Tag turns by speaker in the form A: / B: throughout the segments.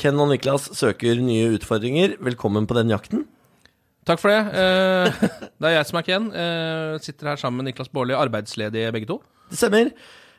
A: Ken og Niklas søker nye utfordringer. Velkommen på den jakten.
B: Takk for det. Eh, det er jeg som er Ken. Eh, sitter her sammen med Niklas Baarli, arbeidsledige begge to.
A: Det stemmer.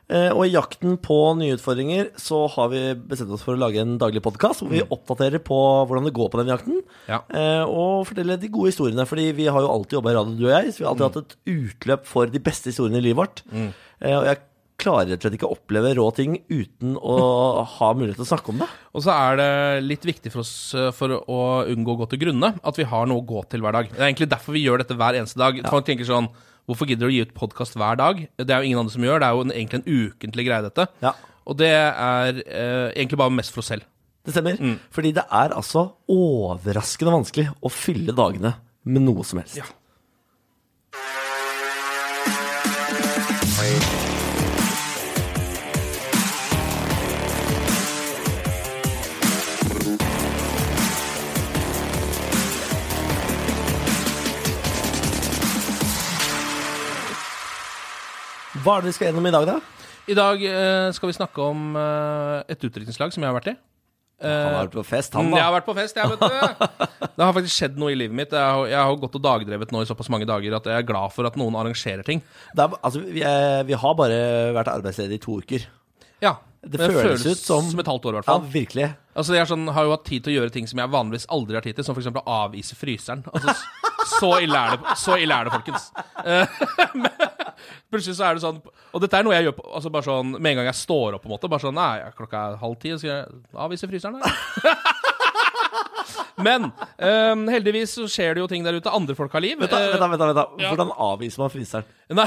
A: Eh, Og i jakten på nye utfordringer så har vi bestemt oss for å lage en daglig podkast hvor vi oppdaterer på hvordan det går på den jakten.
B: Ja.
A: eh, Og forteller de gode historiene. Fordi vi har jo alltid jobba i radio, du og jeg. Så vi har alltid hatt et utløp for de beste historiene i livet vårt. Eh, Og jeg klarer rett og slett ikke å oppleve rå ting uten å ha mulighet til å snakke om det.
B: Og så er det litt viktig for oss eh, for å unngå å gå til grunne, at vi har noe å gå til hver dag. Det er egentlig derfor vi gjør dette hver eneste dag. Folk tenker sånn Hvorfor gidder du å gi ut podkast hver dag? Det er jo ingen andre som gjør. Det er jo en, egentlig en ukentlig greie, dette.
A: Ja.
B: Og det er eh, egentlig bare mest for oss selv.
A: Det stemmer. Fordi det er altså overraskende vanskelig å fylle dagene med noe som helst.
B: Ja.
A: Hva er det vi skal gjennom i dag, da?
B: I dag eh, skal vi snakke om eh, et utdrikningslag som jeg har vært i.
A: Han har vært på fest, han,
B: Mm, Jeg har
A: da.
B: vært på fest, jeg, vet du. Det har faktisk skjedd noe i livet mitt. Jeg har, jeg har gått og dagdrevet nå i såpass mange dager at jeg er glad for at noen arrangerer ting.
A: Det er, altså, vi,
B: eh,
A: er, vi har bare vært arbeidsledige i to uker.
B: Ja,
A: Det føles ut som-
B: et halvt år, i hvert
A: Ja,
B: fall.
A: virkelig.
B: Altså, jeg er sånn, har jo hatt tid til å gjøre ting som jeg vanligvis aldri har tid til, som f.eks. å avise fryseren. Altså, s- så ille er det, så ille er det folkens. Eh, men Plutselig så er det sånn Og dette er noe jeg gjør på, altså bare sånn, med en gang jeg står opp. på en måte Bare sånn, nei, Klokka er halv ti, så skal jeg avvise fryseren. da. Men eh, heldigvis så skjer det jo ting der ute. Andre folk har liv.
A: Vent, da,
B: Eh,
A: vent, da, vent, da, vent, da.
B: ja.
A: Hvordan avviser man fryseren?
B: Nei,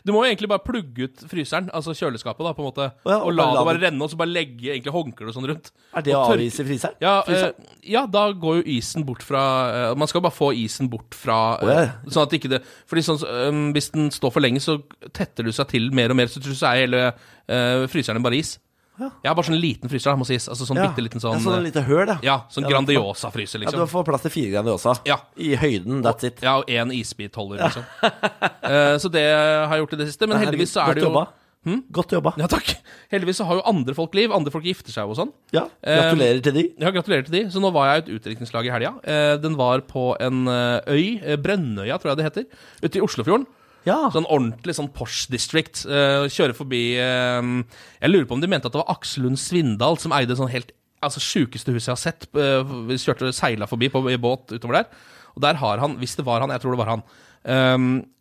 B: du må jo egentlig bare plugge ut fryseren, altså kjøleskapet, da, på en måte.
A: Å ja,
B: og la det bare renne, og så bare legge egentlig håndkle og sånn rundt.
A: Er det å
B: Og tørke-
A: avvise fryseren?
B: Ja,
A: fryseren?
B: eh, ja, da går jo isen bort fra eh, Man skal bare få isen bort fra eh,
A: Å ja.
B: Sånn at ikke det Fordi sånn, eh, hvis den står for lenge, så tetter du seg til mer og mer, så tror du så er hele eh, fryseren bare is.
A: Ja.
B: Jeg har bare sånn liten fryser, da, må sies. Altså sånn
A: Ja.
B: bitte liten
A: Ja,
B: sånn
A: sånn
B: eh,
A: lite høl, ja.
B: Ja, sånn
A: du får-
B: Grandiosa-fryser,
A: Ja,
B: liksom.
A: du får plass til fire grader også.
B: Ja.
A: I høyden, that's it.
B: Ja, og én isbit holder, liksom. Eh, så det har jeg gjort i det siste. Men heldigvis så er det jo Hm?
A: Godt jobba. Godt jobba.
B: Ja, takk. Heldigvis så har jo andre folk liv. Andre folk gifter seg jo og sånn.
A: Ja, gratulerer til de.
B: Ja, Gratulerer til de. Så nå var jeg i et utdrikningslag i helga. Eh, Den var på en eh, øy, eh, Brønnøya tror jeg det heter, ute i Oslofjorden.
A: Ja.
B: Sånn ordentlig sånn Posh District. eh, Kjører forbi eh, Jeg lurer på om de mente at det var Aksel Lund Svindal som eide sånn helt Altså sjukeste huset jeg har sett. eh, Vi kjørte seila forbi på i båt utover der. Og der har han, hvis det var han, jeg tror det var han, eh,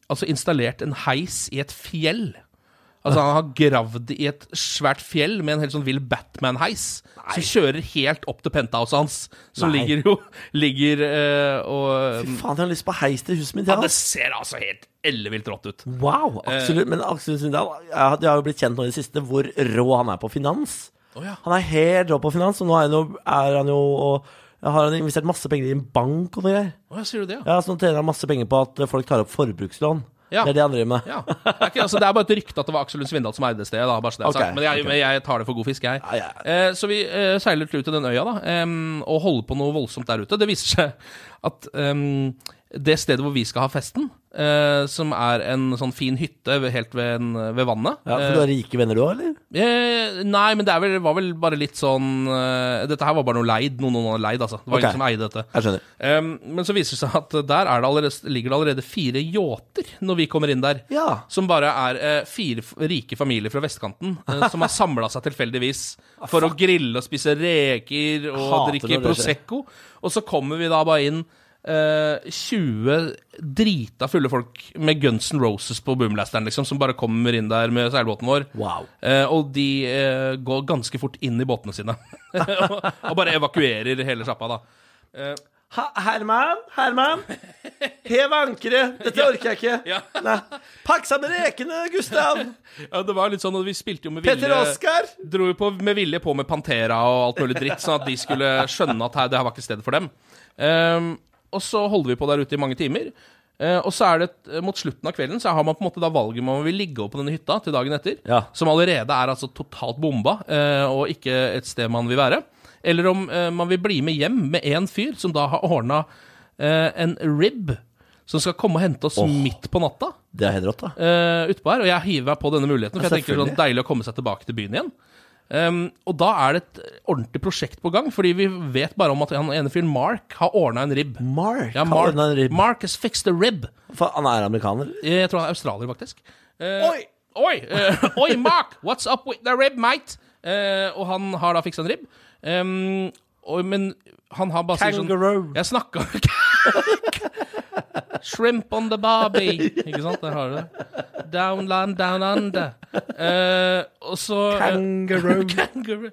B: altså installert en heis i et fjell. Altså Han har gravd i et svært fjell med en helt sånn vill Batman-heis. Som kjører helt opp til penthouset hans, som
A: Nei.
B: ligger jo Ligger eh, og
A: Fy faen, jeg har lyst på heis til huset mitt.
B: ja,
A: Ja.
B: Det Eh. ser altså helt ellevilt rått ut.
A: Wow! Absolutt. Men Aksel Sundal jeg jeg har jo blitt kjent nå i det siste hvor rå han er på finans.
B: Å ja.
A: Han er helt rå på finans, og nå er han jo, er han jo og, har han investert masse penger i en bank og noe greier.
B: Å, ja, sier du det, ja?
A: Ja, så nå tjener han masse penger på at folk tar opp forbrukslån.
B: Ja.
A: Det er det han driver med.
B: ja. Det, er ikke, altså, det er bare et rykte at det var Aksel Lund Svindal som eide det stedet. Da, bare så det er
A: Ok,
B: sagt. Men, jeg,
A: ok.
B: men jeg tar det for god fisk, jeg.
A: Ja, ja.
B: Eh, så vi eh, seiler til ut til den øya da, em, og holder på noe voldsomt der ute. Det viser seg at em, det stedet hvor vi skal ha festen, eh, som er en sånn fin hytte ved- helt ved, en, ved vannet
A: Ja, for du har rike venner du òg, eller?
B: Eh, nei, men det er vel, var vel bare litt sånn eh, Dette her var bare noe leid. Noen, noen hadde leid, altså. Det var
A: Ok.
B: ingen som eide dette.
A: Jeg skjønner.
B: Em, men så viser det seg at der er det allerede, ligger det allerede fire yachter når vi kommer inn der.
A: Ja.
B: Som bare er eh, fire f- rike familier fra vestkanten eh, som har samla seg tilfeldigvis for å grille og spise reker og
A: Hater
B: drikke
A: når det skjer.
B: Prosecco. Og så kommer vi da bare inn eh, 20 drita fulle folk med Guns N' Roses på boomlasteren, liksom, som bare kommer inn der med seilbåten vår.
A: Wow.
B: Eh, og de eh, går ganske fort inn i båtene sine. og, og bare evakuerer hele sjappa, da. Eh,
A: Ha, Herman, Herman. Hev ankeret. Dette orker jeg ikke.
B: Ja.
A: Nei. Pakk sammen rekene, Gustav.
B: ja, det var litt sånn, og vi spilte jo med
A: Petter
B: vilje
A: Oskar.
B: dro jo på, med vilje på med Pantera og alt mulig dritt, sånn at de skulle skjønne at her, det her var ikke stedet for dem. Ehm, og så holder vi på der ute i mange timer. Eh, og så er det et- mot slutten av kvelden så har man på en måte da valget om man vil ligge opp på denne hytta til dagen etter,
A: Ja.
B: som allerede er altså totalt bomba eh, og ikke et sted man vil være. Eller om eh, man vil bli med hjem med én fyr som da har ordna en rib som skal komme og hente oss midt på natta
A: Det er helt rått, da.
B: uh, utpå eh, her, og jeg hiver meg på denne muligheten. For
A: Ja,
B: jeg tenker sånn
A: selvfølgelig.
B: deilig å komme seg tilbake til byen igjen. Um, og da er det et ordentlig prosjekt på gang, fordi vi vet bare om at han ene fyren, Mark, har ordna en ribb.
A: Mark
B: Ja,
A: har
B: Mark,
A: ordnet en ribb.
B: Mark has fixed a rib.
A: For han er amerikaner.
B: Jeg tror han er australier, faktisk. Eh,
A: Oi!
B: Oi, eh, oi, Mark! What's up with the rib, mate? Eh, og han har da fiksa en ribb. Um, og, men han har bare sier
A: Kangaroo.
B: sånn Jeg snakka Shrimp on the barbie. Ikke sant? Der har du det. Downland, down under. Eh, og så
A: Kangaroo.
B: Kangaroo.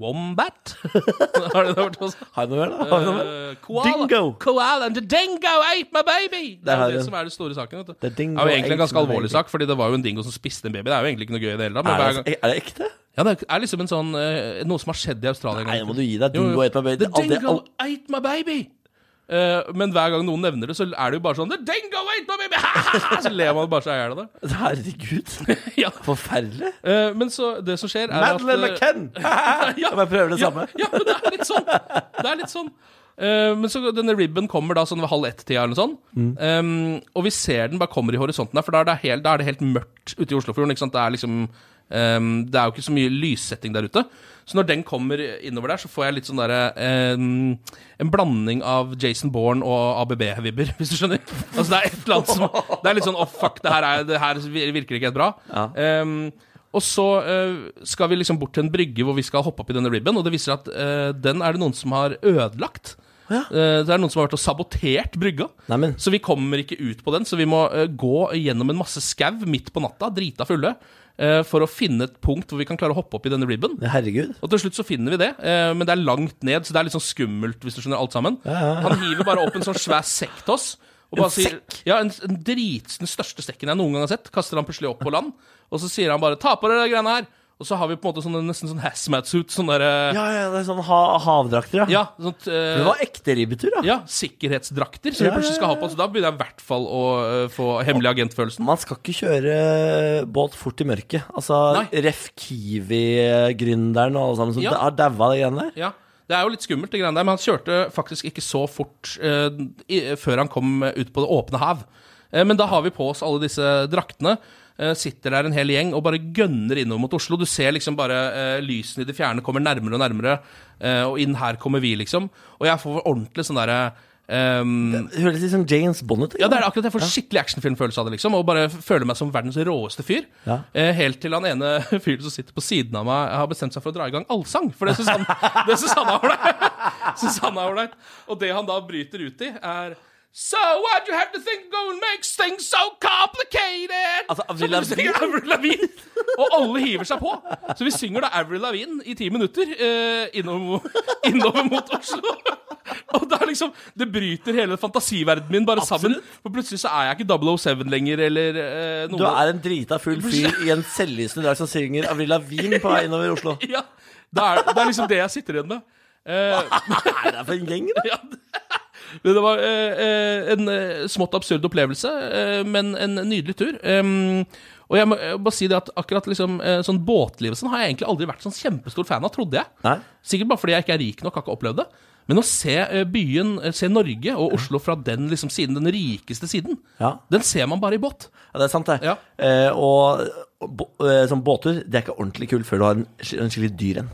B: Wombat. har du det hørt også?
A: Har jeg noe mer, da? Har jeg noe mer?
B: Eh, koala,
A: Dingo.
B: Koala and the dingo ate my baby! Det
A: Der
B: er
A: har
B: jo
A: vi
B: det
A: den.
B: som er den store saken. vet du
A: Det er dingo
B: er jo egentlig en
A: ate
B: ganske
A: my
B: alvorlig
A: baby. altså,
B: sak, Fordi det var jo en dingo som spiste en baby. Det er jo egentlig ikke noe gøy i det hele tatt. Men hver
A: Er
B: gang,
A: det, er det ekte?
B: ja, det er liksom en sånn eh, noe som har skjedd i Australia. en
A: Nei,
B: gang.
A: nå må du gi deg.
B: Jo,
A: Dingo ate my baby.
B: jo. The
A: Aldri-
B: dingo
A: al-
B: ate my baby! Eh, men hver gang noen nevner det, så er det jo bare sånn The dingo ate my baby! så ler man bare seg i hjel av det.
A: Herregud.
B: ja.
A: Forferdelig.
B: Eh, men så det som skjer, er
A: Madeleine
B: at eh,
A: McCann!
B: Ja.
A: Om jeg prøver det
B: ja,
A: samme?
B: Ja, men det er litt sånn. Det er litt sånn. Eh, men så denne ribben kommer da sånn ved halv ett-tida eller noe sånt.
A: Mm.
B: Eh, og vi ser den bare kommer i horisonten der, for da er det helt, da er det helt mørkt ute i Oslofjorden. ikke sant? Det er liksom eh, Det er jo ikke så mye lyssetting der ute. Så når den kommer innover der, så får jeg litt sånn derre eh, En blanding av Jason Bourne og ABB-vibber, hvis du skjønner. Altså det er et eller annet som Det er litt sånn oh fuck, det her, er, det her virker ikke helt bra.
A: Ja.
B: Ehm, og så eh, skal vi liksom bort til en brygge hvor vi skal hoppe opp i denne ribben, og det viser at eh, den er det noen som har ødelagt.
A: Ja.
B: Eh, det er noen som har vært og sabotert brygga.
A: Neimen,
B: Så vi kommer ikke ut på den, så vi må eh, gå gjennom en masse skau midt på natta, drita fulle, eh, for å finne et punkt hvor vi kan klare å hoppe opp i denne ribben.
A: herregud.
B: Og til slutt så finner vi det, eh, men det er langt ned, så det er litt sånn skummelt, hvis du skjønner alt sammen. Han hiver bare opp en sånn svær sekk til oss. Og bare sier, ja, en, en drits, den største sekken jeg noen gang har sett, kaster han plutselig opp på land. Og så sier han bare 'ta på dere de greiene her'. Og så har vi på en måte sånn, nesten sånn hazmat-suit. Sånn derre
A: Ja, ja, det er sånn ha havdrakter, ja.
B: Ja, sånt eh,
A: Det var ekte ribbetur, da.
B: ja, sikkerhetsdrakter som
A: Ja,
B: vi
A: ja,
B: plutselig skal ha på. Så da begynner jeg i hvert fall å eh, få hemmelig agentfølelsen.
A: Man skal ikke kjøre båt fort i mørket. Altså,
B: Nei.
A: Ref Kiwi-gründeren og alle sammen som
B: Ja.
A: har daua, de greiene der.
B: Ja, Det er jo litt skummelt, det greiene der, men han kjørte faktisk ikke så fort eh, i, før han kom eh, ut på det åpne hav. Eh, men da har vi på oss alle disse draktene. eh, sitter der en hel gjeng og bare gønner innover mot Oslo. Du ser liksom bare eh, lysene i det fjerne kommer nærmere og nærmere, eh, og inn her kommer vi, liksom. Og jeg får ordentlig sånn derre eh,
A: Det høres litt som James Bond ut. ikke
B: Ja, det er
A: sant?
B: det akkurat. Jeg får skikkelig actionfilmfølelse av det, liksom. Og bare føler meg som verdens råeste fyr.
A: Ja.
B: Eh, helt til han ene fyren som sitter på siden av meg, har bestemt seg for å dra i gang allsang. For det syns han det synes han er ålreit. Synes han er ålreit. Og det han da bryter ut i, er So why'd you have to think go and make things so complicated?
A: Altså, Avril Lavigne?
B: Så Avril Lavigne. Og alle hiver seg på. Så vi synger da Avril Lavigne i ti minutter eh, innover, innover mot Oslo. Og da liksom Det bryter hele fantasiverdenen min bare sammen. For plutselig så er jeg ikke 007 lenger, eller eh, noe
A: Du er en drita full fyr i en selvlysende drakt som synger Avril Lavigne på vei innover Oslo.
B: ja, det, er, det er liksom det jeg sitter igjen med. Eh,
A: Nei, det er for en gjeng, da.
B: ja, det, det var eh, eh, en eh, smått absurd opplevelse, eh, men en nydelig tur. Em, og jeg må eh, bare si det at akkurat liksom, eh, sånn båtlivet sånn, har jeg egentlig aldri vært sånn kjempestor fan av, trodde jeg.
A: Nei.
B: Sikkert bare fordi jeg ikke er rik nok, har ikke opplevd det. Men å se eh, byen, eh, se Norge og Oslo fra den liksom siden, den rikeste siden,
A: Ja.
B: den ser man bare i båt.
A: Ja, det er sant, det.
B: Ja.
A: Eh, og bo, eh, sånn båttur, det er ikke ordentlig kult før du har en, sk- en skikkelig dyr en.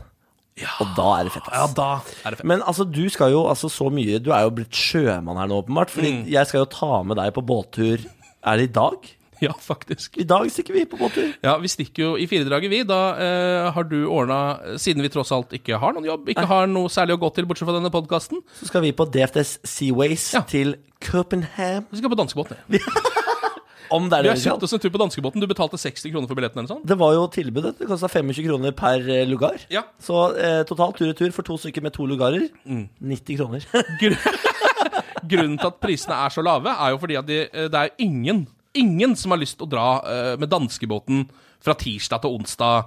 A: Og da er det fett, ass.
B: da er det fett.
A: Men altså, du skal jo altså så mye Du er jo blitt sjømann her nå, åpenbart. Fordi jeg skal jo ta med deg på båttur Er det i dag?
B: Ja, faktisk.
A: I dag stikker vi på båttur.
B: Ja, Vi stikker jo i firedraget, vi. Da eh, har du ordna Siden vi tross alt ikke har noen jobb, ikke har noe særlig å gå til bortsett fra denne podkasten,
A: Så skal vi på DFDS Seaways
B: Ja.
A: til Copenhagen.
B: Vi skal på danskebåten. ja.
A: Om det er
B: Vi
A: det
B: har
A: vi skal.
B: kjøpt oss en tur på danskebåten. Du betalte 60 kroner for billetten. eller sånn
A: Det var jo tilbud. vet du. Det kosta 25 kroner per eh, lugar.
B: Ja.
A: Så eh, totalt tur-retur for to stykker med to lugarer 90 kroner.
B: Grunnen til at prisene er så lave, er jo fordi at de, eh, det er ingen Ingen som har lyst til å dra eh, med danskebåten fra tirsdag til onsdag.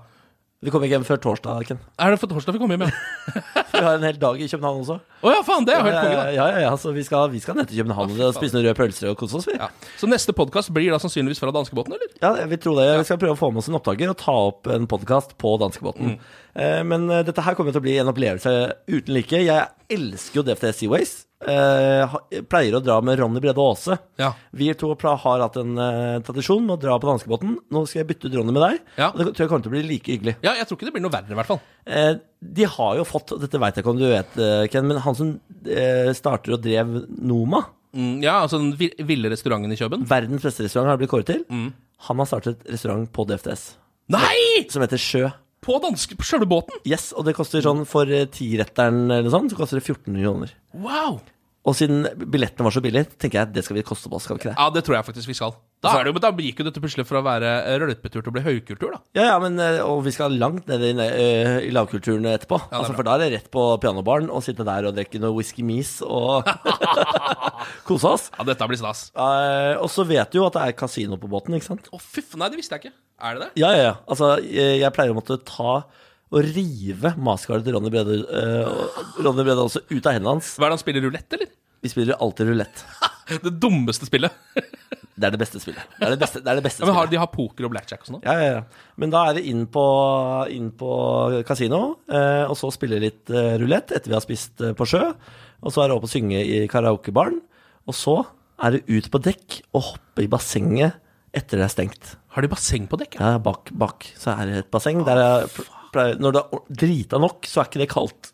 A: Vi kommer ikke hjem før torsdag, Ken.
B: Er det for torsdag vi kommer hjem, ja?
A: Vi har en hel dag i København også.
B: Å ja, faen, det er helt konge,
A: Ja,
B: da.
A: ja, ja, så vi skal, vi skal ned til København og spise noen røde pølser og kose oss. Vi.
B: Ja. Så neste podkast blir da sannsynligvis fra danskebåten, eller?
A: Ja, jeg vil tro det. Vi skal prøve å få med oss en opptaker og ta opp en podkast på danskebåten.
B: Mm.
A: Eh, men eh, dette her kommer til å bli en opplevelse uten like. Jeg elsker jo DFT Seaways. Eh, ha- jeg pleier å dra med Ronny Brede Aase.
B: Ja.
A: Vi to pla- har hatt en eh, tradisjon med å dra på danskebåten. Nå skal jeg bytte ut Ronny med deg.
B: Ja.
A: Og det tror jeg kommer til å bli like hyggelig.
B: Ja, jeg tror ikke det blir noe verre, i hvert fall.
A: Eh, de har jo fått, og dette veit jeg ikke om du vet, eh, Ken, men han som eh, starter og drev Noma,
B: Mm, ja, altså den vi- ville restauranten i Kjøben.
A: verdens beste restaurant har det blitt kåret til,
B: Mm.
A: han har startet restaurant på DFTS
B: Nei!
A: som heter Sjø.
B: På danske, på sjølve båten!
A: Yes, og det koster sånn for eh, tiretteren eller noe sånt, så koster det 1400 kroner.
B: Wow!
A: Og siden billettene var så billige, tenker jeg at det skal vi koste på oss, skal vi ikke det?
B: Ja, det tror jeg faktisk vi skal. Da, er det jo, men da gikk jo dette plutselig fra å være eh, rølpetur til å bli høykultur, da.
A: Ja, ja, men eh, og vi skal langt ned i, eh, i lavkulturen etterpå.
B: Ja, det er
A: altså,
B: bra.
A: for da er det rett på pianobaren og sitte der og drikke noe whisky mis og kose oss.
B: Ja, dette blir stas.
A: Eh, og så vet du jo at det er kasino på båten, ikke sant?
B: Å, fy faen, nei, det visste jeg ikke. Er det det?
A: Ja, ja, ja. Altså, jeg, jeg pleier å måtte ta og rive mastercardet til Ronny Brede, eh, og Ronny Brede også ut av hendene hans.
B: Hva er det han spiller rulett, eller?
A: Vi spiller alltid rulett.
B: Det dummeste spillet.
A: Det er det beste spillet. Det er det beste, det er det beste
B: Ja, men har,
A: spillet.
B: de har poker og blackjack og sånn? da?
A: Ja, ja, ja. Men da er det inn på, inn på kasino, eh, og så spille litt eh, rulett etter vi har spist eh, på sjø. Og så er det opp og synge i karaokebaren. Og så er det ut på dekk og hoppe i bassenget etter det er stengt.
B: Har de basseng på dekk? Ja.
A: Ja, bak, bak så er det et basseng. Der jeg pl- pleier, når det er or- drita nok, så er ikke det kaldt.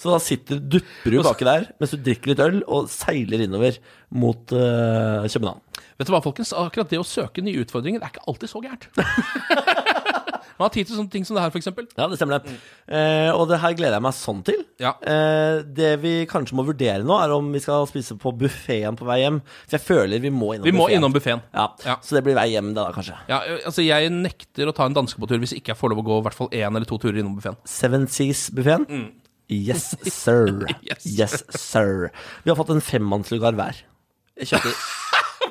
A: Så da sitter dupper du baki der mens du drikker litt øl og seiler innover mot eh, København.
B: Vet du hva, folkens? Akkurat det å søke nye utfordringer er ikke alltid så gærent. Man har tid til sånne ting som det her, for eksempel.
A: Ja, det stemmer det. Eh, og det her gleder jeg meg sånn til.
B: Mm. Ja.
A: Eh, det vi kanskje må vurdere nå, er om vi skal spise på buffeen på vei hjem. For jeg føler vi må innom
B: Vi må
A: buffeen.
B: innom buffeen.
A: Ja.
B: Ja.
A: Så det blir vei hjem, det da, kanskje.
B: Ja, ø, altså Jeg nekter å ta en danskebåttur hvis ikke jeg får lov å gå i hvert fall én eller to turer innom buffeen.
A: Seven Seas-buffeen. Yes, sir.
B: Mm. Yes.
A: yes, sir. Vi har fått en femmannslugar hver. Jeg kjøpte,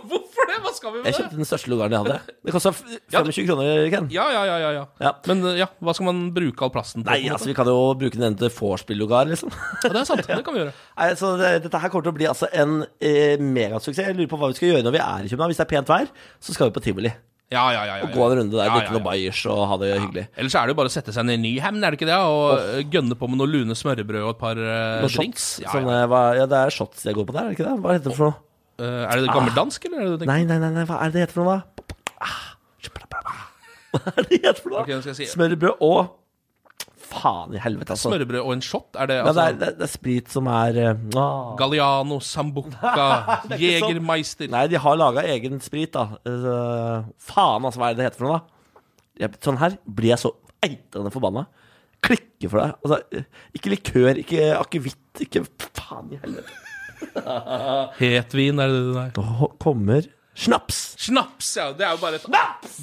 B: Hvorfor det? Hva skal vi
A: jeg kjøpte den største lugaren jeg hadde. Det kosta 25 kroner, Ken.
B: Ja, ja, ja, ja, ja.
A: Ja.
B: Men ø, ja, hva skal man bruke all plassen til?
A: Nei,
B: på en måte?
A: altså, vi kan jo bruke den ene til vorspiel-lugar, liksom.
B: ja, Det er sant. Det kan vi gjøre.
A: Nei, så det, Dette her kommer til å bli altså en eh, megasuksess. Jeg lurer på hva vi skal gjøre når vi er i København. Hvis det er pent vær, så skal vi på tivoli.
B: Ja, ja, ja, ja, ja.
A: Gå en runde der,
B: Ja,
A: drikke noe bayers og ha det hyggelig.
B: Ellers er det jo bare å sette seg ned i Nyhamn, er det ikke det? Og ø, gønne på med noe lune smørrebrød og et par ø,
A: Noen
B: drinks.
A: shots. sånn
B: Ja, ja.
A: Sånne, hva, ja, det er shots jeg går på der, er det ikke det? Hva heter det for noe?
B: Ø, Øh, Er det gammeldansk, eller? Er det det du tenker?
A: Ah. Nei, nei, nei, nei, hva er det det heter for noe, da? Ah, Hva er det det heter for noe?
B: Ok, nå skal jeg si.
A: Smørbrød og Faen i helvete, altså.
B: Smørrebrød og en shot? Er det
A: Ja, det,
B: altså
A: er, det, er, det er sprit som er eh, ah.
B: Galliano, Sambuca, Jegermeister
A: sånn. Nei, de har laga egen sprit, da. Eh, faen, altså, hva er det det heter for noe, da? Jeg, sånn her blir jeg så eitende forbanna. Klikker for deg. Altså, eh, ikke likør, ikke akevitt, ikke Faen i helvete.
B: Hetvin, er det det der?
A: Nå kommer snaps.
B: Snaps, ja. Det er jo bare et,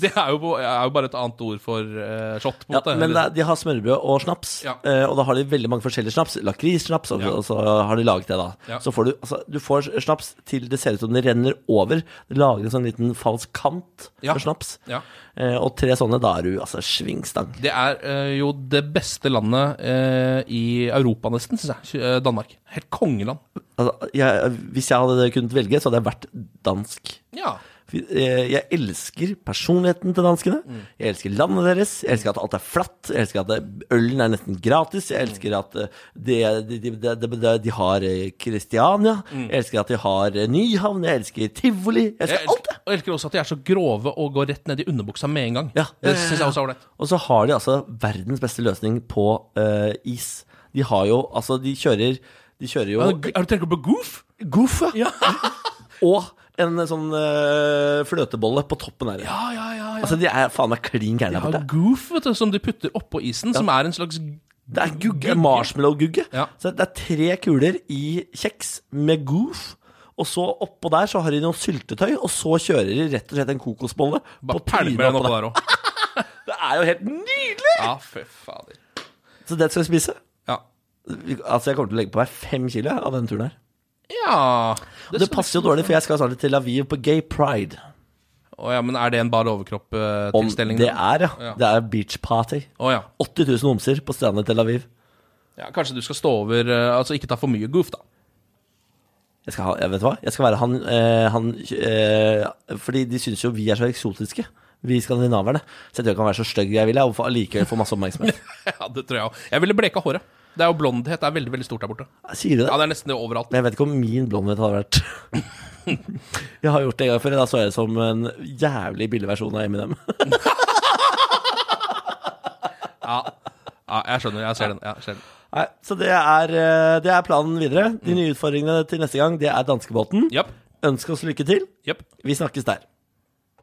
B: det er jo, på- er jo bare et annet ord for eh, shot. på en
A: Ja,
B: måte.
A: men det,
B: eller-
A: er- de har smørbrød og snaps,
B: Ja.
A: eh, og da har de veldig mange forskjellige snaps. Lakrissnaps, og,
B: Ja.
A: og så har de laget det, da.
B: Ja.
A: Så får du, altså, du får snaps til det ser ut som det renner over. Det lager en sånn liten falsk kant
B: Ja.
A: for snaps.
B: Ja.
A: Eh, og tre sånne, da er du altså svingstang.
B: det er eh, jo det beste landet eh, i Europa, nesten, syns jeg. Eh, Danmark. Helt kongeland.
A: Altså, jeg, hvis jeg hadde kunnet velge, så hadde jeg vært dansk.
B: Ja.
A: For, eh, Jeg elsker personligheten til danskene.
B: Mm.
A: Jeg elsker landet deres. Jeg elsker at alt er flatt. Jeg elsker at det- ølen er nesten gratis. Jeg elsker at eh, de, de, de, de, de, de har eh, Kristiania. Jeg elsker at de har eh, Nyhavn. Jeg elsker tivoli. Jeg elsker
B: Mm. Jeg
A: alt,
B: elsker,
A: det.
B: og jeg elsker også at de er så grove og går rett ned i underbuksa med en gang.
A: Ja.
B: Det syns jeg også er ålreit.
A: Og så har de altså verdens beste løsning på eh, is. De har jo Altså, de kjører De kjører jo
B: Er du- Er du tenker på goof?
A: Goof, ja.
B: Ja.
A: Og en sånn eh, fløtebolle på toppen her.
B: Ja, ja, ja. ja.
A: Altså, de er faen meg klin gærne
B: de
A: her
B: har
A: borte.
B: Altså, goof vet du, som de putter oppå isen, som er en slags
A: Det er gugge, marshmallow-gugge.
B: Ja.
A: Så det er tre kuler i kjeks med goof. Og så oppå der så har de noe syltetøy, og så kjører de rett og slett en kokosbolle.
B: Bare
A: på trynet
B: pælmer den
A: oppå der.
B: oppå der òg.
A: Det er jo helt nydelig!
B: Ja, fy fader.
A: Så det skal vi spise.
B: Ja.
A: Vi- Altså Jeg kommer til å legge på meg fem kilo av denne turen her.
B: ja.
A: Det,
B: skal du
A: passer jo dårlig, for jeg skal snart til Tel Aviv på Gay Pride.
B: Å ja, men er det en bar
A: Om
B: overkropp-tilstelning?
A: det er, ja.
B: Ja.
A: Det er beach party.
B: Å ja.
A: 80 000 homser på strendene i Tel Aviv.
B: Ja, kanskje du skal stå over eh, Altså ikke ta for mye goof, da.
A: Jeg skal ha, jeg vet du hva? Jeg skal være han, eh, han eh, Fordi de syns jo vi er så eksotiske, vi skandinaverne. Så jeg tror jeg kan være så stygg jeg vil, jeg, og få- allikevel få masse oppmerksomhet.
B: ja, det tror jeg òg. Jeg ville bleka håret. Det er jo Blondhet er veldig veldig stort der borte.
A: Sier du det?
B: Ja, det er nesten det overalt.
A: Men jeg vet ikke om min blondhet hadde vært Jeg har gjort det en gang før. Da så jeg ut som en jævlig billig versjon av Eminem.
B: Ja, ja jeg skjønner. Jeg ser den. Jeg ser den.
A: Nei, så det er, eh, det er planen videre. De nye utfordringene til neste gang, det er danskebåten.
B: Japp.
A: Ønsk oss lykke til.
B: Japp.
A: Vi snakkes der.